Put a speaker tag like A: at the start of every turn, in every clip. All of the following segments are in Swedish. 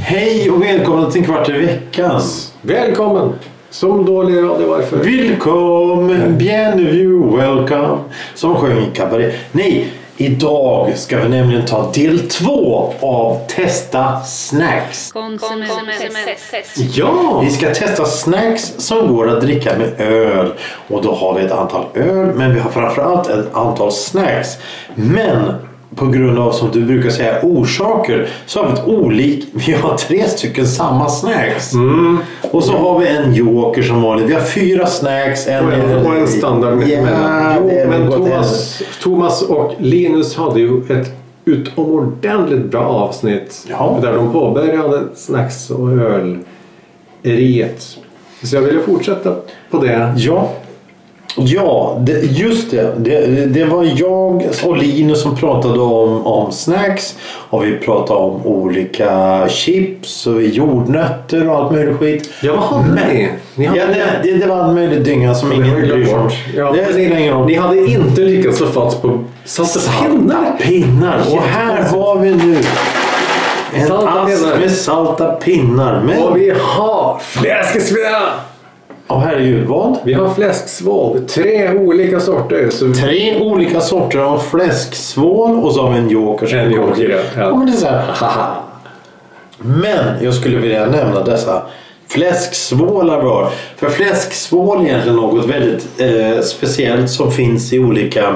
A: Hej och välkomna till en kvart i veckan.
B: Välkommen! Som dålig radio, varför?
A: Välkommen, bienvenue, welcome. Som sjöng Cabaret. Nej, idag ska vi nämligen ta del två av Testa Snacks.
C: Konsumenttest.
B: Ja!
A: Vi ska testa snacks som går att dricka med öl. Och då har vi ett antal öl, men vi har framförallt ett antal snacks. Men på grund av, som du brukar säga, orsaker så har vi ett olik. Vi har tre stycken samma snacks.
B: Mm.
A: Och så har vi en joker som vanligt. Vi har fyra snacks. En,
B: Och en, och en standard
A: Ja,
B: mittemellan. Jo,
A: det är väl
B: men
A: gott
B: Thomas, Thomas och Linus hade ju ett utomordentligt bra avsnitt
A: Ja.
B: där de påbörjade snacks och öleriet. Så jag ville fortsätta på det.
A: Ja, ja det, just det. det. Det var jag och Linus som pratade om, om snacks. Och vi pratade om olika chips och jordnötter och allt möjligt skit.
B: Ja, vad hade ni? Ni
A: Ja,
B: hade,
A: det, det, det var en möjlig dynga som ingen
B: har
A: bryr
B: jag
A: sig om.
B: glömt bort. Ja,
A: det spelar ingen roll.
B: ni hade inte lyckats få fatt på salta pinnar.
A: pinnar. Och här har vi nu en
B: Salta
A: ask
B: pinnar.
A: med salta pinnar. Men,
B: Och vi har fläskesvä!
A: och herregud, vad?
B: Vi har fläsksvål, tre olika sorter. Så
A: Tre olika sorter av fläsksvål och så har vi en joker. som
B: En
A: vi kommer
B: joker,
A: till.
B: ja. Ja.
A: Ja, men det är så här, haha. Men jag skulle vilja nämna dessa fläsksvålar vi har. För fläsksvål är egentligen något väldigt eh, speciellt som finns i olika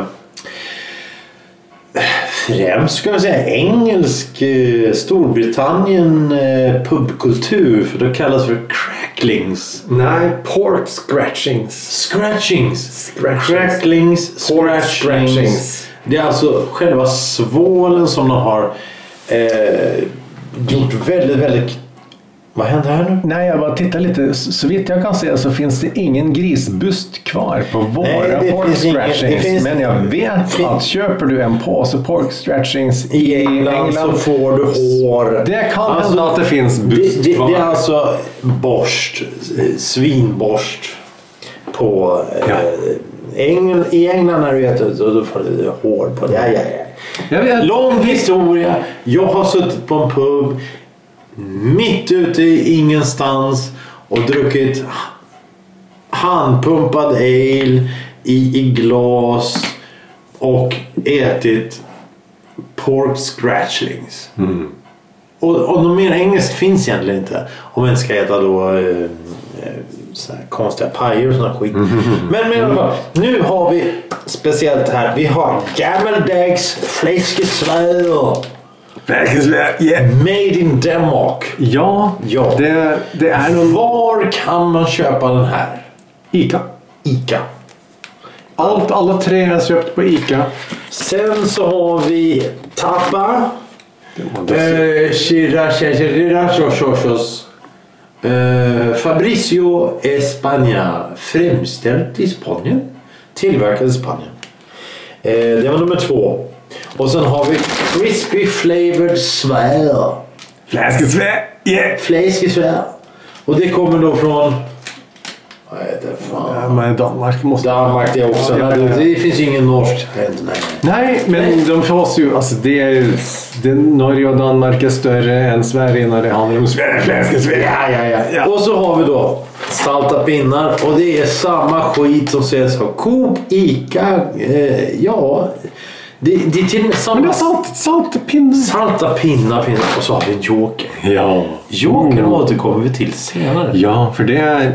A: främst skulle jag säga engelsk eh, Storbritannien eh, pubkultur för det kallas för cracklings.
B: Nej, pork scratchings.
A: Scratchings.
B: Scratchings.
A: Cracklings.
B: Pork
A: Scratchings.
B: scratchings.
A: Det är alltså själva svålen som de har eh, gjort väldigt, väldigt... Vad händer här nu?
D: Nej, jag bara tittar lite. Så så vitt jag kan se så finns det ingen grisbust kvar på våra
A: det
D: pork
A: finns inget. Det
D: scratchings.
A: finns-
D: Men jag vet
A: Fin-
D: att köper du en påse pork scratchings
A: I England så får du hår.
D: Det kan
B: Alltså,
D: hända att det finns
A: Det,
D: bust
A: det,
D: kvar.
A: det är alltså borst, eh, svinborst på eh,
B: Ja.
A: Engel, i England när du äter så då får du hår på det. Ja, ja, ja.
B: Jag vet.
A: Lång historia. Jag har suttit på en pub mitt ute i ingenstans och druckit handpumpad ale i, i glas och ätit pork scratchlings. Och, och något mer engelskt finns egentligen inte. Om man inte ska äta då eh, eh, så här konstiga pajer och sån här skit. Men, men i alla fall, nu har vi speciellt här. Vi har gammeldags fläskesvärd. Made in Denmark.
B: Ja,
A: Ja.
B: Det, det är någon
A: Var kan man köpa den här?
B: Ica.
A: Ica.
B: Allt, alla tre är köpt på Ica.
A: Sen så har vi Tappa. Eh, Chirash, Chirash, Chirash, eh, Fabricio España. Framställt i Spanien. Tillverkad i Spanien. Eh, det var nummer två. Och sen har vi Crispy Flavored Svär.
B: Fläskesvä! Yeah.
A: Fläsk i Svär. Och det kommer då från... Vad heter fan?
B: Men Danmark måste...
A: Danmark det också.
B: Ja, ja, ja.
A: Det finns ju ingen norsk. Nej.
B: Nej, men de fås ju... Alltså det är, det, Norge och Danmark är större än Sverige när det handlar om fläskesvä.
A: Ja, ja, ja, ja. Och så har vi då salta pinnar och det är samma skit som säljs av Coop, Ica, eh, ja. Det, det är till och med
B: Men det
A: samma
B: är salt, saltpinnar.
A: salta pinnar finns och så har vi en joker.
B: Ja. Mm.
A: Jokern återkommer vi till senare.
B: Ja, för det är...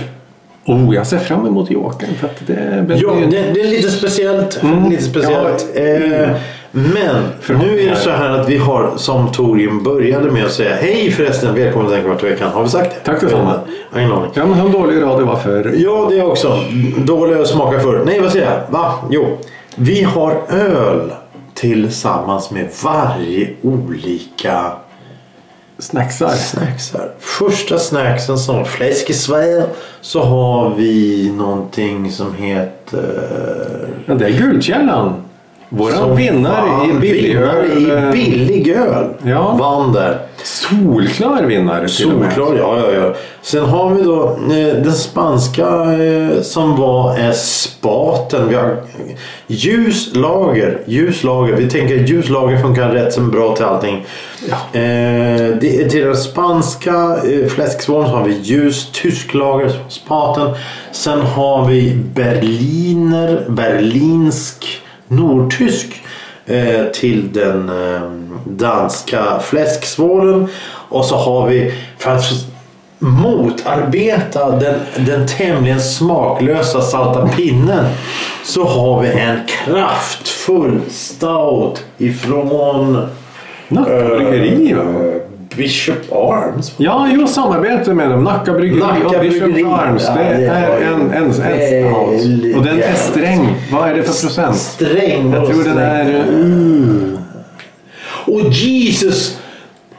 B: Oh, jag ser fram emot Jokern. För att det är...
A: Ja, det, det är lite speciellt.
B: Mm.
A: Lite speciellt. Eh, men nu är det så här att vi har, som Torgrim började med att säga, hej förresten, välkommen till en kvart i veckan. Har vi sagt det?
B: Tack detsamma.
A: Jag har ingen aning.
B: Ja, men hur dålig radio var förr.
A: Ja, det också. Dåliga smakar förr. Nej, vad säger jag? Va? Jo. Vi har öl tillsammans med varje olika
B: Snacksar.
A: snacksar. Första snacksen som fläsk i Sverige så har vi någonting som heter eh,
B: Ja, det är Guldkällan. Våran
A: Som
B: vinnare i
A: fan,
B: billig
A: vinnare
B: öl, eh,
A: i billig öl.
B: Ja.
A: Vann där.
B: Solklar vinnare till och med.
A: Solklar, ja, ja, ja. Sen har vi då eh, den spanska eh, som var eh, spaten. Vi har ljus lager, ljus lager. Vi tänker ljus lager funkar rätt som bra till allting.
B: Ja.
A: Eh, det, till den spanska eh, fläsksvåren så har vi ljus tysk lager, spaten. Sen har vi berliner, berlinsk, nordtysk eh, till den eh, danska fläsksvåren. Och så har vi, för att motarbeta den, den tämligen smaklösa salta pinnen så har vi en kraftfull stout ifrån
B: Nackabryggeri va?
A: eh, Bishop Arms.
B: Ja, jo, samarbete med dem. Nacka Bryggeri
A: Nacka
B: och Bishop
A: Bryggeri.
B: Arms.
A: Ja,
B: Det
A: det var
B: är
A: ju
B: en, en, en
A: väldigt
B: stout. Och den är
A: jävligt.
B: sträng. Vad är det för procent?
A: Sträng
B: Jag
A: och
B: tror den
A: sträng. Mm.
B: är... eh, Uh,
A: Och Jesus!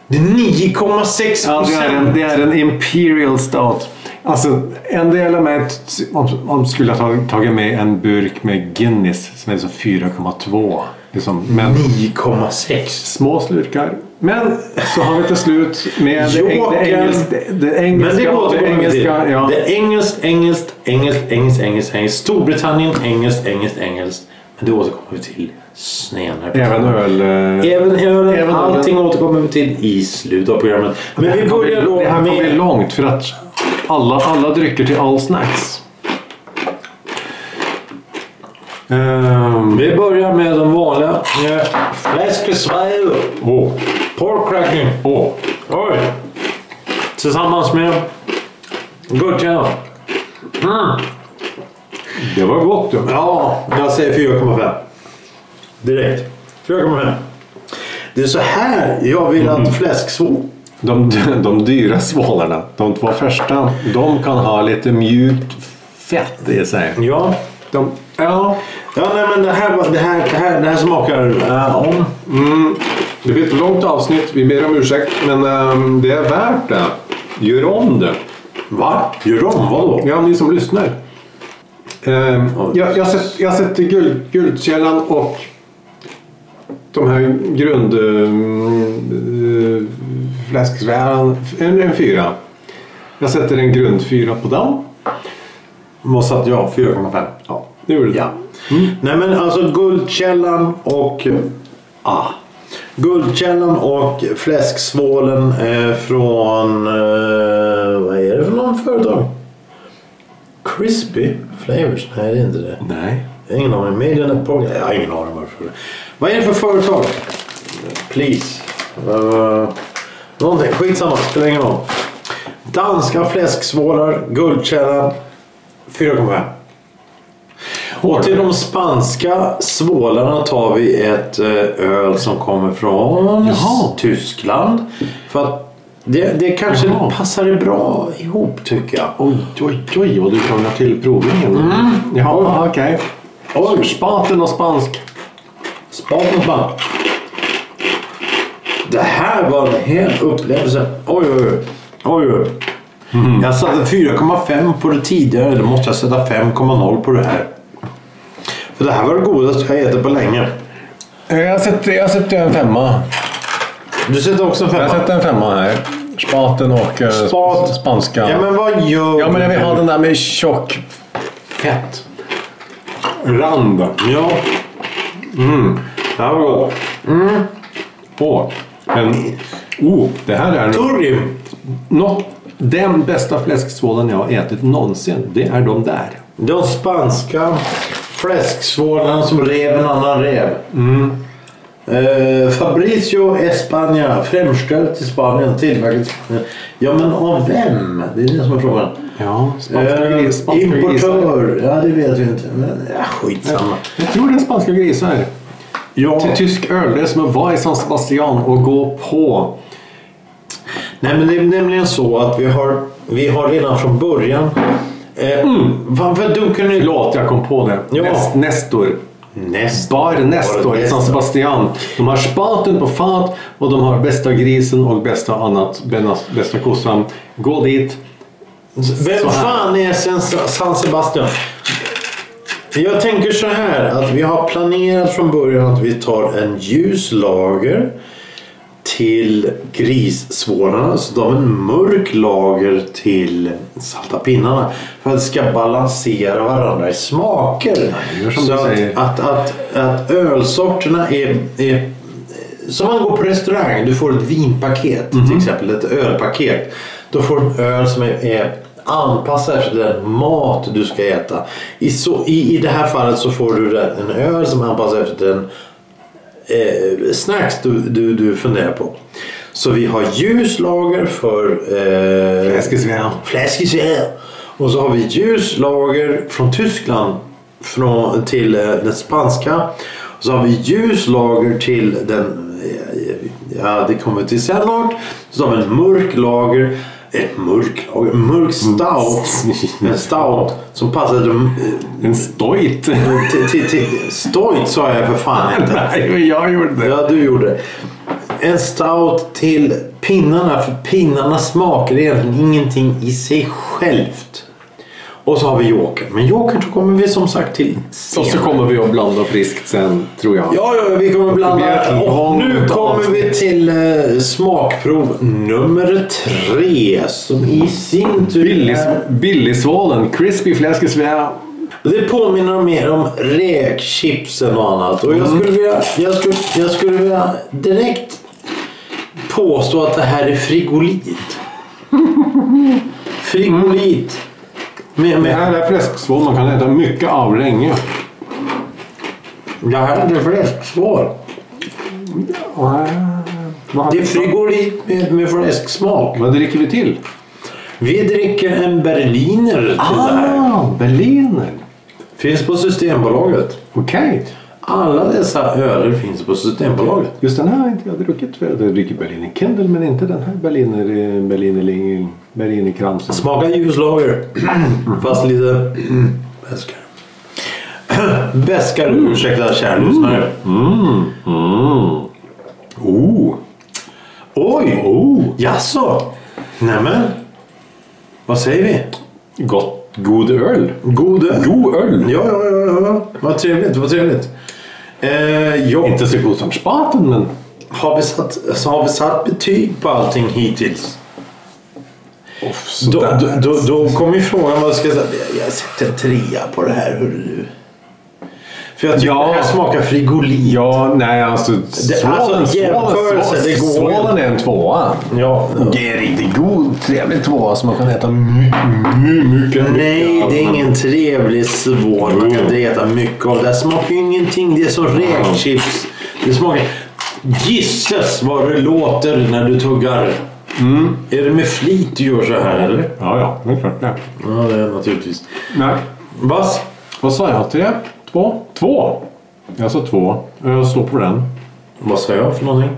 A: Det är 9,6
B: ja, det, är en,
A: procent.
B: det är en Imperial Stout. Alltså, en del av mig t- om, om skulle ha tag- tagit med en burk med Guinness som är så 4,2. Liksom. Men
A: 9,6.
B: små slurkar. Men så har vi till slut med det, eng- det,
A: Jokern.
B: engels, det, det engelska.
A: Men det går
B: det
A: återkommer vi till.
B: engelska ja.
A: Det är engelskt, engelskt, engelskt, engelskt, engelskt, engelskt. Storbritannien, engelskt, engelskt, engelskt. Men det återkommer vi till senare.
B: Även öl... eh,
A: Även ölen,
B: Även
A: allting återkommer vi till i slutet av programmet. Men vi börjar då
B: Det här kommer bli
A: med...
B: långt för att alla, alla drycker till all snacks. Ehm,
A: Vi börjar med de vanliga. eh, Fläsk i Sverige.
B: Åh,
A: Pork cracking.
B: åh.
A: Oj! Tillsammans med gurka. Mm.
B: Det var gott ju.
A: Ja, jag säger 4,5. Direkt. 4,5. Det är så här jag vill att fläsksvård...
B: De, de dyra svalarna, de två första, de kan ha lite mjukt fett i sig.
A: Ja.
B: De, ja,
A: Ja, nej men det här, var- det här, det här, det här smakar... Äh, om.
B: Mm, det blir ett långt avsnitt, vi ber om ursäkt, men ehm, det är värt det. Gör om det.
A: Va? Gör om? Vadå?
B: Ja, ni som lyssnar. Ehm, jag, jag, sätter, jag sätter guld, Guldkällan och de här grund... Uh, fläsksväran, en, en fyra. Jag sätter en grundfyra på dem.
A: Måste att jag 4,5.
B: Ja, det gjorde du.
A: Ja. Nej men alltså Guldkällan och... Ah. Guldkällan och Fläsksvålen eh, från... Eh, vad är det för någon företag? Crispy Flavors? Nej det är inte det.
B: Nej.
A: Jag har ingen aning. Made in a Portugal. Jag har ingen aning varför. det- Vad är det för företag? Please. Uh, någonting. Skitsamma. Spelar ingen roll. Danska fläsksvålar. Guldkällan. 4,5. Och till de spanska svålarna tar vi ett eh, öl som kommer från
B: Jaha.
A: Tyskland. För att det, det kanske
B: Jaha.
A: passar bra ihop tycker jag.
B: Oj, oj, oj vad du krånglar till provningen. Mm. Ja, okej.
A: Oj.
B: Spaten och spansk.
A: Spat mot band. Det här var en hel upplevelse. Oj, oj, oj. oj, oj.
D: Mm.
A: Jag satte 4,5 på det tidigare. Då måste jag sätta 5,0 på det här. För det här var det godaste jag ätit på länge.
D: Eh, Jag sätter, jag sätter en femma.
A: Du sätter också en
D: Jag
A: femma.
D: sätter en femma här. Spaten och eh, sp-
A: Spat.
D: spanska.
A: Ja, men vad gör
D: Ja, men jag vill
A: du?
D: ha den där med tjock fett.
B: Rand.
A: Ja.
B: Det här var gott. Mm. Åh, men... Oh, det här är...
A: Turrim.
B: Något, den bästa fläsksvålen jag har ätit någonsin, det är de där.
A: De spanska fläsksvålarna som rev en annan räv. Eh, Fabricio España, framställt i Spanien, tillverkat i Spanien. Ja, men av vem? Det är det som är frågan.
B: Ja,
A: Eh, importör, ja det vet vi inte. Men ja, skitsamma.
B: Jag tror det är spanska grisar.
A: Ja.
B: Till tysk öl, det är som att vara i San Sebastian och gå på.
A: Nej, men det är nämligen så att vi har, vi har redan från början... Eh, Varför dunkar ni...
B: Förlåt, jag kom på det.
A: Ja.
B: Nest, Nestor.
A: Näst.
B: Bar
A: Bar
B: Nestor i San
A: Nestor.
B: Sebastian. De har spaten på fat och de har bästa grisen och bästa annat. Benas- Bästa kossan. Gå dit.
A: Vem
B: Så här.
A: fan är sen San Sebastian? Jag tänker så här att vi har planerat från början att vi tar en ljus lager till grissvårarna. Så tar vi en mörk lager till salta pinnarna. För att det ska balansera varandra i smaker.
B: gör som
A: så
B: du
A: att,
B: säger.
A: Att, att, att ölsorterna är, är som man går på restaurang, du får ett vinpaket till exempel, ett ölpaket. Då får du en öl som är, är anpassad efter den mat du ska äta. I, så, i, I det här fallet så får du den- en öl som är anpassad efter den eh, snacks du, du, du funderar på. Så vi har ljus lager för eh,
B: Fläskesvärd.
A: Fläskesvärd. Och så har vi ljus lager från Tyskland från, till eh, den spanska. Och så har vi ljus lager till den, eh, ja det kommer till sen snart. Så har vi en mörk lager, ett mörk lager, en mörk stout. En stout som passar till,
B: En stojt.
A: till, till, till stojt sa jag för fan inte.
B: Nej, men jag gjorde det.
A: Ja, du gjorde. det. En stout till pinnarna, för pinnarnas smak är egentligen ingenting i sig självt. Och så har vi jokern. Men jokern så kommer vi som sagt till
B: Och
A: senare.
B: så kommer vi att blanda friskt sen, tror jag.
A: Ja, ja, vi kommer blanda.
B: blir ett
A: Och nu
B: långt
A: kommer vi
B: avsnitt.
A: till eh, smakprov nummer tre. Som i sin tur... är-
B: Billis- Billisvalen, crispy fläskesvärd.
A: Det påminner mer om räkchipsen och annat. Och jag skulle vilja, jag skulle, jag skulle vilja direkt påstå att det här är frigolit. Frigolit. Med,
B: Det
A: med,
B: här är fläsksvål man kan äta mycket av länge.
A: det här är inte fläsksmak.
B: Vad,
A: Det är frigolit med, med fläsksmak.
B: vad dricker vi till?
A: Vi dricker en berliner till det här.
B: Ah, berliner.
A: Finns på Systembolaget.
B: Okej.
A: Alla dessa öler finns på Systembolaget.
B: Just den här har inte jag druckit. För jag dricker Berliner Kindle men inte den här Berliner, eh, Berliner, Berliner kransen.
A: Smaka ljuslager. Fast lite mm, beskare. Beskare,
B: Mm.
A: ursäkta kära lyssnare.
B: Oh,
A: Oj!
B: oh.
A: Jaså? Nämen. Vad säger vi?
B: Gott, god öl.
A: God öl.
B: God öl.
A: Ja, ja, ja, ja, ja. Vad trevligt, vad trevligt. Eh, ja.
B: Inte så god som spaten men
A: Har, vi satt, så har vi satt betyg på allting hittills? Då,
B: Sådär.
A: då, då, då kommer ju frågan vad jag ska säga. Jag- Jag sätter en trea på det här, hörru du. För jag tycker
B: Ja.
A: det här smakar frigolit.
B: Ja, nej alltså.
A: alltså,
B: Svalen, svalen,
A: jämförelse, det går
B: svalen är en tvåa.
A: Ja.
D: Det är en riktigt god, trevlig tvåa som man kan äta mycket, mycket.
A: Nej, det är ingen trevlig svår. Man kan
B: Mm.
A: inte äta mycket av det. Det smakar ju ingenting. Det är som räkchips. Det smakar... Gisses vad det låter när du tuggar. Är det med flit du gör så här eller?
B: Ja, ja, det är klart det.
A: Ja, det är naturligtvis.
B: Nej.
A: Vas?
B: Vad sa jag? Tre? Två? Två! Jag sa två. Jag slår på den.
A: Vad sa jag för någonting?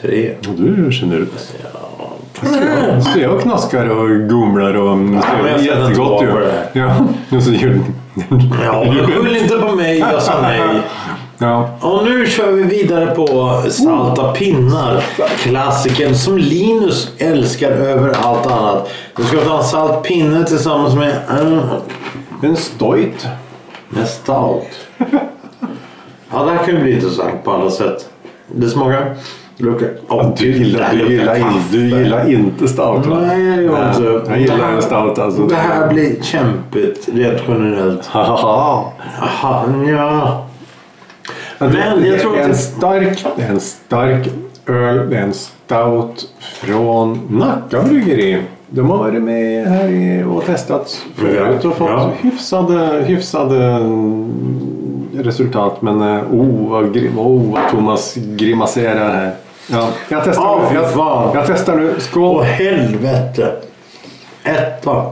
A: Tre.
B: Och Du är generös. Jag Så jag knaskar och gumlar och
A: men
B: det
A: jag
B: är
A: sätter en
B: jättegott
A: tvåa på
B: ju.
A: det här.
B: Ja, och så gör
A: Ja, men skyll inte på mig. Jag sa nej.
B: Ja.
A: Och nu kör vi vidare på Salta pinnar. Klassikern som Linus älskar över allt annat. Nu ska vi ta en salt pinne tillsammans med mm,
B: En stojt.
A: med stout. Ja, det här kan ju bli intressant på alla sätt. Det smakar... Luktar... Åh,
B: Du gillar,
A: det här
B: du
A: luktar
B: gillar, in,
A: kaffe.
B: du gillar inte stout va?
A: Nej, jag gör
B: Nej,
A: inte.
B: Jag gillar en stout alltså.
A: Det här blir kämpigt rent generellt.
B: Hahaha.
A: Aha, ja.
B: Ja, det,
A: Men jag
B: det,
A: tror
B: det är
A: att-
B: en stark, det är en stark öl, det är en stout från Nacka bryggeri. De har varit med här i- och testat förut och fått
A: Ja.
B: hyfsade, hyfsade mm, resultat. Men eh, oh vad, grim, oh, vad Thomas grimaserar här. Ja, jag testar
A: Ja,
B: nu.
A: fy fan.
B: Jag, jag testar nu. Skål!
A: Åh helvete. Etta.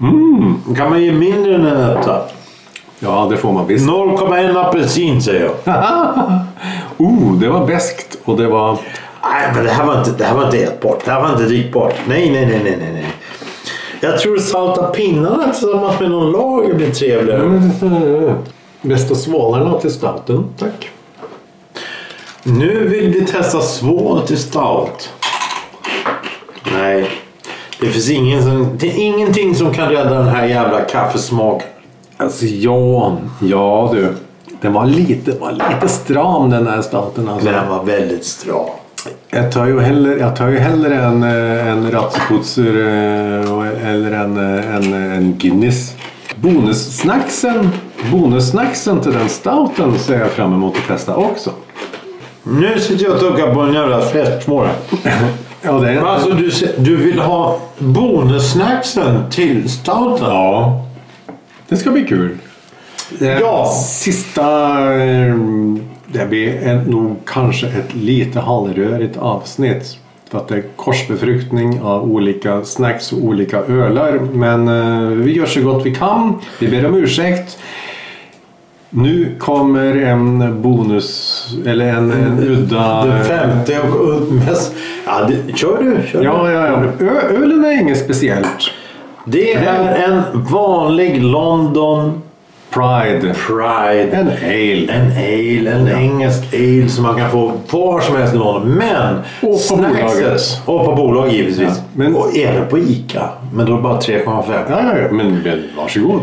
A: Mm, Kan man ge mindre än en etta?
B: Ja, det får man visst.
A: 0,1 apelsin säger jag.
B: Oh, det var beskt och det var...
A: Nej, men det här var inte, det här var inte ätbart. Det här var inte drickbart. Nej, nej, nej, nej, nej, nej. Jag tror salta pinnarna tillsammans med någon lager blir trevligare.
B: Mm. eh, Bästa svalarna till stouten. Tack.
A: Nu vill vi testa svål till stout. Nej. Det finns ingen som, det är ingenting som kan rädda den här jävla kaffesmaken.
B: Alltså Jan, ja du. Den var lite, var lite stram den här staten alltså.
A: Den var väldigt stram.
B: Jag tar ju hellre, jag tar ju hellre en, eh, en Ratzputzer eh, och- eller en, eh, en, en Guinness. Bonussnacksen, bonussnacksen till den stouten ser jag fram emot att testa också.
A: Nu sitter jag och tuggar på en jävla fläskmåla.
B: Ja, det är,
A: Alltså du, se- du vill ha bonussnacksen till stouten?
B: ja, det ska bli kul. Eh,
A: Ja.
B: Sista... eh, Det blir en, nog kanske ett lite halvrörigt avsnitt. För att det är korsbefruktning av olika snacks och olika ölar. Men eh, vi gör så gott vi kan. Vi ber om ursäkt. Nu kommer en bonus, eller en, en udda...
A: Den femte och och mest... Ja, det, kör du. Kör
B: Ja,
A: du.
B: ja, ja. Ö, ölen är inget speciellt.
A: Det är en vanlig London
B: Pride.
A: Pride.
B: En ale.
A: En ale, en engelsk ale som man kan få var som helst i London. Men
B: på
A: snackset.
B: bolaget.
A: Och på bolag givetvis.
B: Ja, men-
A: Och även på ICA. Men då är det bara 3,5.
B: Ja, ja, ja. Men, men varsågod.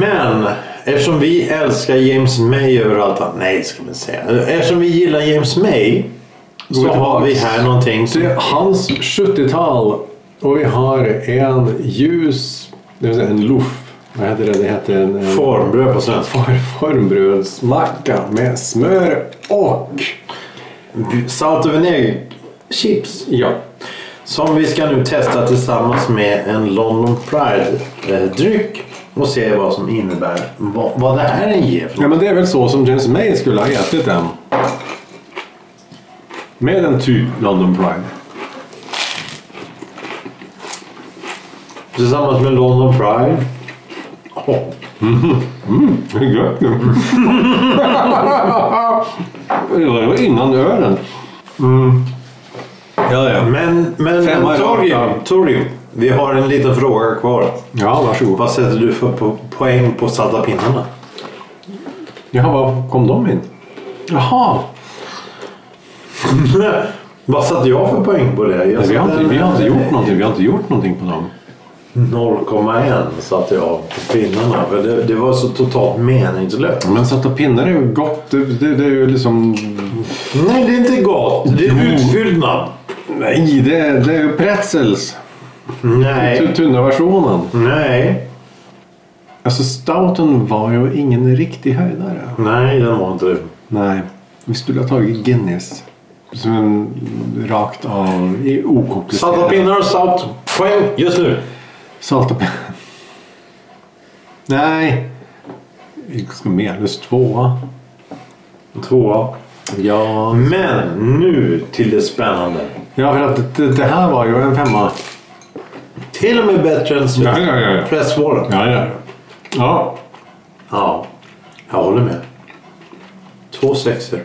A: Men eftersom vi älskar James May överallt. Nej, ska man säga. Eftersom vi gillar James May. Så
B: tillbaks.
A: har vi här någonting
B: Det är
A: som...
B: hans 70-tal och vi har en ljus, det vill säga en loff. Vad heter det? Det heter en, en
A: Formbröd på svenska.
B: for- formbrödsmacka med smör och
A: Salt och vinägerchips.
B: ja,
A: Som vi ska nu testa tillsammans med en London Pride-dryck. Och se vad som innebär. Vad, vad det här ger. för
B: ja men det är väl så som James May skulle ha ätit den. Med en typ London Pride.
A: Tillsammans med London Pride. Åh,
B: Det är gött nu. Det var innan ölen. Mm. Ja, ja.
A: Men, men, men
B: Femma i
A: Torgrim,
B: raka.
A: Torgrim, vi har en liten fråga kvar.
B: Ja, varsågod.
A: Vad sätter du för po- poäng på salta pinnarna?
B: Jaha, var kom de in? Jaha,
A: Vad satte jag för poäng på det? Jag
B: Nej, vi, har
A: satte
B: inte, vi har inte
A: en-
B: gjort någonting. Vi har inte gjort någonting på dem.
A: 0,1 satte jag på pinnarna. För det, det var så totalt meningslöst.
B: Men sätta pinnar är ju gott. Det, det, det är ju liksom...
A: Nej, det är inte gott. Det är utfyllnad.
B: Nej, det, det är ju pretzels. Tu-
A: Nej.
B: Tunna versionen.
A: Nej.
B: Alltså stouten var ju ingen riktig höjdare.
A: Nej, den var inte det.
B: Nej, vi skulle ha tagit Guinness. Som en rakt av i- okomplicerat.
A: Salta pinnar och salt. Poäng just nu.
B: Salta pinnar. Nej. Vi ska Menus tvåa.
A: Tvåa.
B: Ja.
A: Men nu till det spännande.
B: Ja, för att det, det här var ju en femma.
A: Till och med bättre än
B: Ja, ja, ja, ja.
A: pressvåren. Ja.
B: ja, ja. Ja,
A: jag håller med. Två sexer.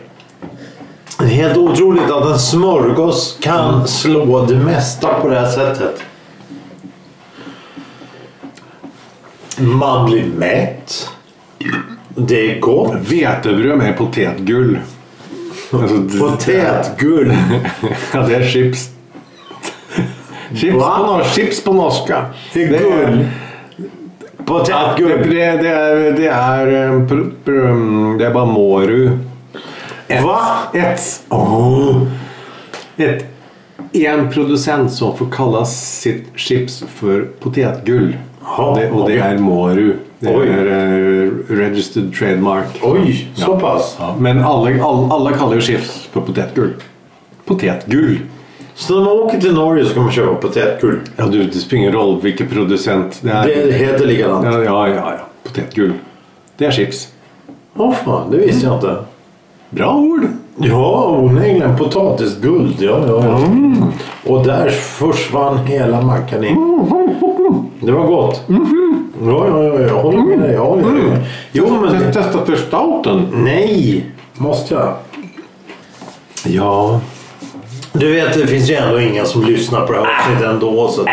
A: Det är helt otroligt att en smörgås
B: Mm.
A: kan slå det mesta på det här sättet. Man blir mätt. Det är gott.
B: Vetebröd med potetgull. Alltså, det-
A: Potätgull.
B: Ja, det är chips. Chips
A: Va?
B: på, nor- chips på norska.
A: Det är gull.
B: är, det,
A: Potätgull.
B: det, det, är, det, är, eh, pr- pr- mm, det är bara Moru.
A: Va?
B: Ett,
A: Åh.
B: ett, en producent som får kalla sitt chips för potetgull.
A: Jaha,
B: det, och det
A: okej.
B: är Moru. Det
A: Oj.
B: är eh, registered trademark.
A: Oj, så
B: Ja.
A: pass.
B: Ja, men alla, alla, alla kallar ju chips för potetgull. Potetgull?
A: Så när man åker till Norge så kan man köpa potätgull.
B: Ja, du, det spelar ingen roll vilken producent det är.
A: Det heter likadant.
B: Ja, ja, ja, ja. Potetgull. Det är chips.
A: Åh fan, det visste jag inte.
B: Bra ord!
A: Ja, onekligen. Potatisguld. Ja, ja, ja. Och där försvann hela mackan in. Det var gott. Ja, ja, ja, jag håller med dig. Jag håller med dig. Jo, men...
B: Test- Testa för stouten.
A: Nej, måste jag.
B: Ja.
A: Du vet, det finns ju ändå inga som lyssnar på det här avsnittet ändå. Så att...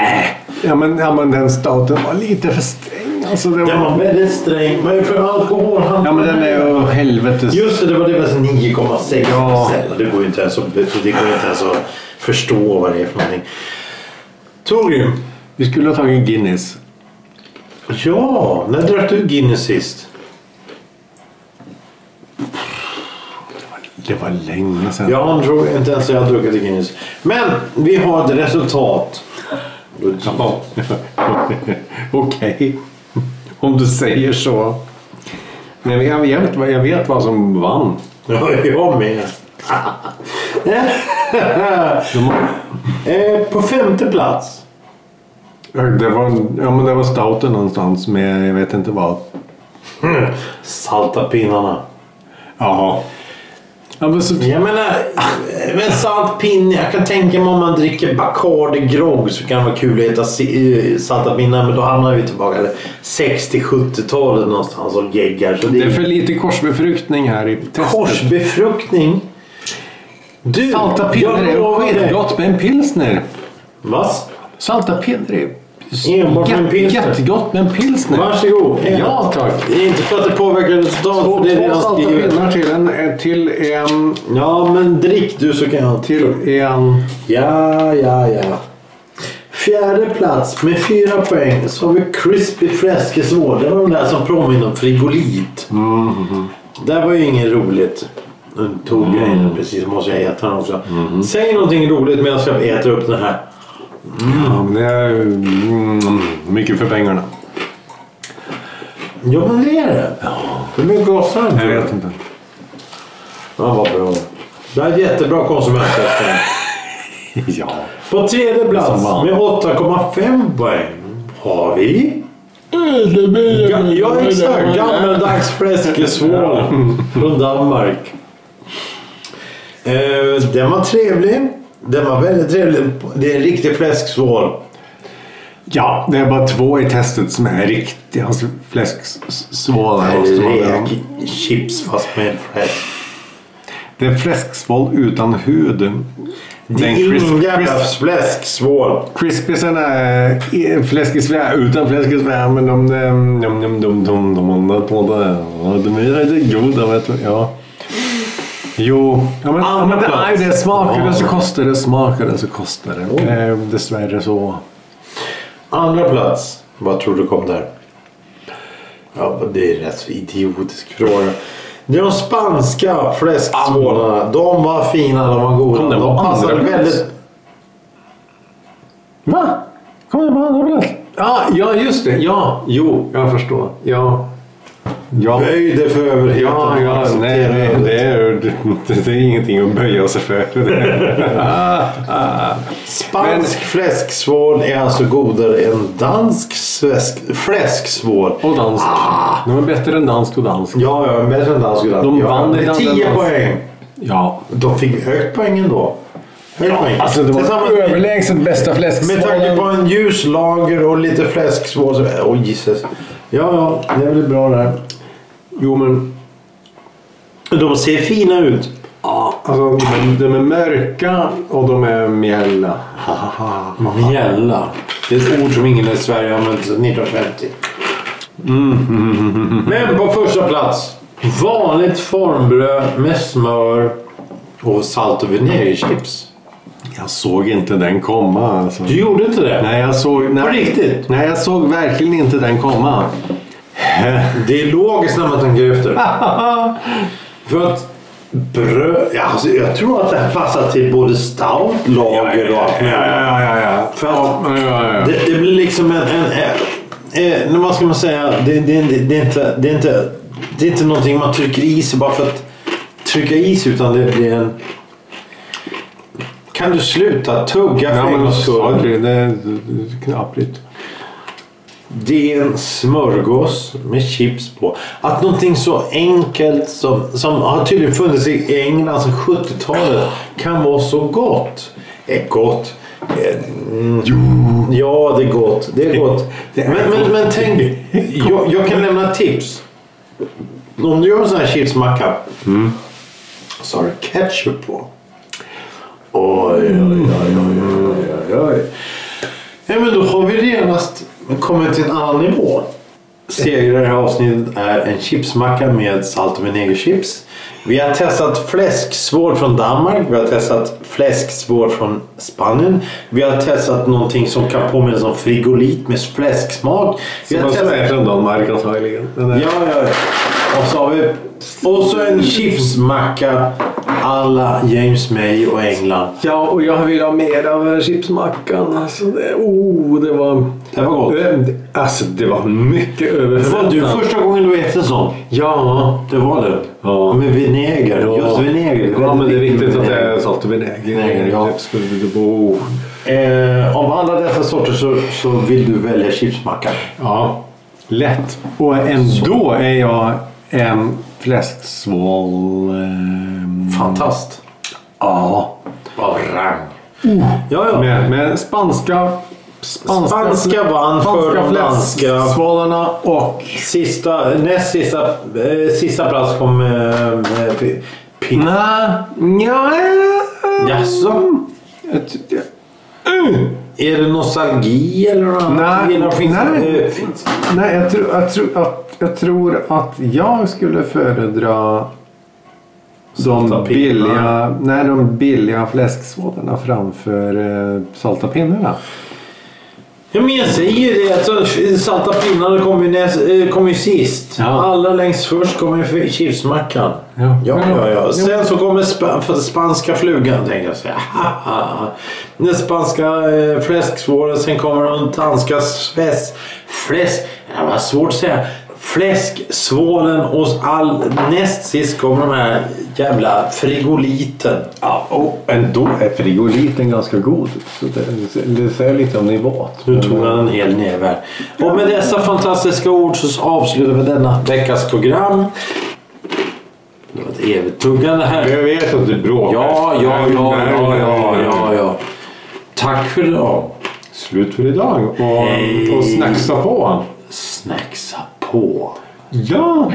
B: Ja men, ja, men den stouten var lite för sträng. Alltså, det
A: Den var
B: var...
A: väldigt sträng. Vad är det för alkohol?
B: Ja, men den är ju helvetes...
A: Just det, det var det var så 9,6
B: Ja.
A: procent. Det går ju inte ens att, det går ju inte ens att förstå vad det är för någonting. Torgrim.
B: Vi skulle ha tagit Guinness.
A: Ja, när drack du Guinness sist?
B: Det var länge sedan.
A: Jag tror inte ens jag har druckit Guinness. Men vi har ett resultat.
B: Ja. Okej. Om du säger så. Nej, men jag, vet, vad- jag vet vad som vann.
A: Ja, jag med.
B: De,
A: Eh, På femte plats.
B: ja, det, var, ja, men det var stouten någonstans med jag vet inte vad.
A: Hmm, Salta pinnarna.
B: Jaha. Ja, men så,
A: Jag menar, men salt pinne. Jag kan tänka mig om man dricker Bacardi grogg så kan det vara kul att äta si- eh, salta pinnar. Men då hamnar vi tillbaka till 60-70-talet någonstans och geggar. Så det
B: det
A: är
B: är för lite korsbefruktning här i testet.
A: korsbefruktning. Du,
B: Salta pinnar
A: jag lovar
B: är
A: dig.
B: skitgott med en pilsner.
A: Vad?
B: Salta pinnar är
A: Enbart med en
B: jätte-
A: pilsner.
B: jättegott med en pilsner.
A: Varsågod.
B: Ja, tack.
A: Det är inte för att det påverkar resultatet.
B: Två,
A: för Det är
B: två
A: redan
B: salta
A: skrivet.
B: pinnar till en, till en...
A: Ja, men drick du så kan jag.
B: Till en...
A: Ja, ja, ja. Fjärde plats med fyra poäng så har vi Crispy Fläskesvår. Det var de där som påminner om frigolit.
B: Mm-hmm.
A: Där var ju inget roligt. Nu tog jag in den precis, måste jag äta den också.
B: Mm-hmm.
A: Säg någonting roligt medan jag äter upp den här.
B: Ja, men det är mm, mycket för pengarna.
A: Jo men det är det. Hur mycket kostar den?
B: Jag vet inte.
A: Ja, vad bra. Det här är ett jättebra konsumentköp.
B: Ja.
A: På tredje plats
B: Som vann.
A: med 8,5 poäng har vi... Ga- Ja exakt, gammeldags fläskesvål från Danmark. Eh, Den var trevlig. Den var väldigt trevlig. Det är en riktig fläsksvål.
B: Ja, det är bara två i testet som är riktiga alltså, fläsksvålar. måste man säga.
A: Räkchips fast med fläsk.
B: Det är fläsksvål utan hud.
A: Det
B: Den
A: är
B: crisp,
A: ingen jävla
B: crisp,
A: fläsksvål.
B: crispisen är i- fläskesvär utan fläskesvär. Men de... De... De... De... De... De... De... De... De... De är lite goda, vet du. Ja. Jo, ja, men, ja, men det är ju det. Smakar det så kostar det, smakar det så kostar det. Det är dessvärre så.
A: Andra plats. Vad tror du kom där? Ja, det är en rätt så idiotisk fråga. Det är de spanska fläsksvålarna. De var fina, de var goda.
B: Ah. Kom den på
A: de passade
B: andra plats?
A: väldigt...
B: Va? Kom igen, vad har Ja, ja, just det. Ja, jo, jag förstår. Ja. Ja,
A: Böj dig för överheten. Alltså,
B: ja, ja nej, nej det, är, det, det är ingenting att böja sig för.
A: Spansk fläsksvål är alltså godare än dansk sväsk, fläsksvål.
B: Och dansk. De är bättre än dansk och dansk.
A: Ja, ja, bättre än dansk. ibland.
B: De
A: ja,
B: vann
A: det är
B: redan
A: 10
B: den dansk-
A: poäng.
B: Ja.
A: De fick högt poäng ändå. Högt poäng.
D: Alltså det
A: Tillsammans
D: var
A: med-
D: överlägset bästa
A: Med tanke på
D: fläsksvålen.
A: en ljus lager och lite fläsksvås. Åh oh, Jesus. Ja, ja, det är väl bra det här.
B: Jo, men
A: De ser fina ut.
B: alltså, de, de är mörka och de är mjälla.
A: Mjälla. Det är ett ord som ingen i Sverige har använt sedan 1950. Men på första plats. Vanligt formbröd med smör och salt och vinägerchips.
B: Jag såg inte den komma. Alltså.
A: Du gjorde inte det?
B: Nej, jag såg... Nej,
A: På riktigt?
B: Nej, jag såg verkligen inte den komma.
A: Det är logiskt när man tänker efter. För att bröd... ja, Alltså, jag tror att det här passar till både stout, lager och allt möjligt.
B: ja, ja, ja.
A: För att
B: Ja, ja, ja.
A: det, det blir liksom en... en, en, en vad ska man säga? Det, det, det, det, är inte, det, är inte, det är inte någonting man trycker i sig bara för att trycka i sig utan det blir en... Kan du sluta tugga
B: Ja,
A: för en
B: men alltså,
A: gångs skull?
B: sorry, det är knaprigt.
A: Det är en smörgås med chips på. Att någonting så enkelt som, som har tydligen funnits i England sedan 70-talet kan vara så gott. Är gott. Eh, Mm. Ja, det är gott. Det är gott.
B: det är
A: men,
B: gott.
A: Men, men tänk, jag, jag kan lämna ett tips. Om du gör en sån här chipsmacka så har du ketchup på. Oj, oj, oj, oj, oj, oj, oj. Ja, men då har vi genast kommit till en annan nivå. segrare i det här avsnittet är en chipsmacka med salt och vinägerchips. Vi har testat fläsksvår från Danmark. Vi har testat fläsksvår från Spanien. Vi har testat någonting som kan påminna som frigolit med fläsksmak. Vi
B: Som
A: har
B: man
A: testat...
B: äter en Danmark antagligen. Den är-
A: Ja, ja. ja. Och så har vi... Och så en chipsmacka alla James May och England.
B: Ja, och jag vill ha mer av chipsmackan. Alltså, det, oh, det var...
A: Det var gott.
B: Eh, Alltså, det var mycket över
A: Det var du
B: förväntan.
A: första gången du äter en sån.
B: Ja.
A: Det var det.
B: Ja.
A: Med vinäger. Just vinäger.
B: Ja, men det är viktigt att det
A: Vinäger.
B: är salt och vinäger.
A: Vinäger, ja.
B: Oh.
A: Eh, av alla dessa sorter så, så vill du välja chipsmacka.
B: Ja, lätt. Och ändå är jag en fläsksval... ehm,
A: Fantast.
B: Ja.
A: Av rang. Ja, ja.
B: Med, med spanska...
A: Spanska vann för de danska.
B: fläsksvalarna och...
A: Sista, näst sista, eh, sista plats kom eh, eh, pi- pin.
B: Nej, nej.
A: Jaså?
B: Jag tyckte-
A: Är det nostalgi eller något annat?
B: Nej,
A: Gillar finns-
B: nej.
A: eh, finns-
B: Nej, jag, tror- jag, tror att, jag tror att jag skulle föredra de
A: Salta pinnar.
B: billiga, nej, de billiga fläsksvådarna framför eh, salta pinnarna.
A: Ja, men jag säger ju det. Alltså, salta pinnar kommer ju, näst, eh, kom ju sist.
B: Ja.
A: Alla längst först kommer ju chipsmackan.
B: Ja.
A: ja, ja, ja.
B: Jo.
A: Sen så kommer spa, för spanska flugan tänkte jag säga. Den spanska eh, fläsksvåren. Sen kommer de danska fläsk... fläsk det var svårt att säga. Fläsksvålen och all, näst sist kommer de här jävla frigoliten.
B: Ja, och ändå är frigoliten ganska god. Så det, det säger lite om nivåt.
A: Nu tog han en hel näve här. Och med dessa fantastiska ord så avslutar vi denna veckas program. Det var ett evigt tuggande här.
B: eh, vet att du bråkar.
A: Ja, ja, ja, ja, ja, ja, ja. Tack för idag.
B: Slut för idag och, och snacksa på.
A: Snacksa på.
B: Ja!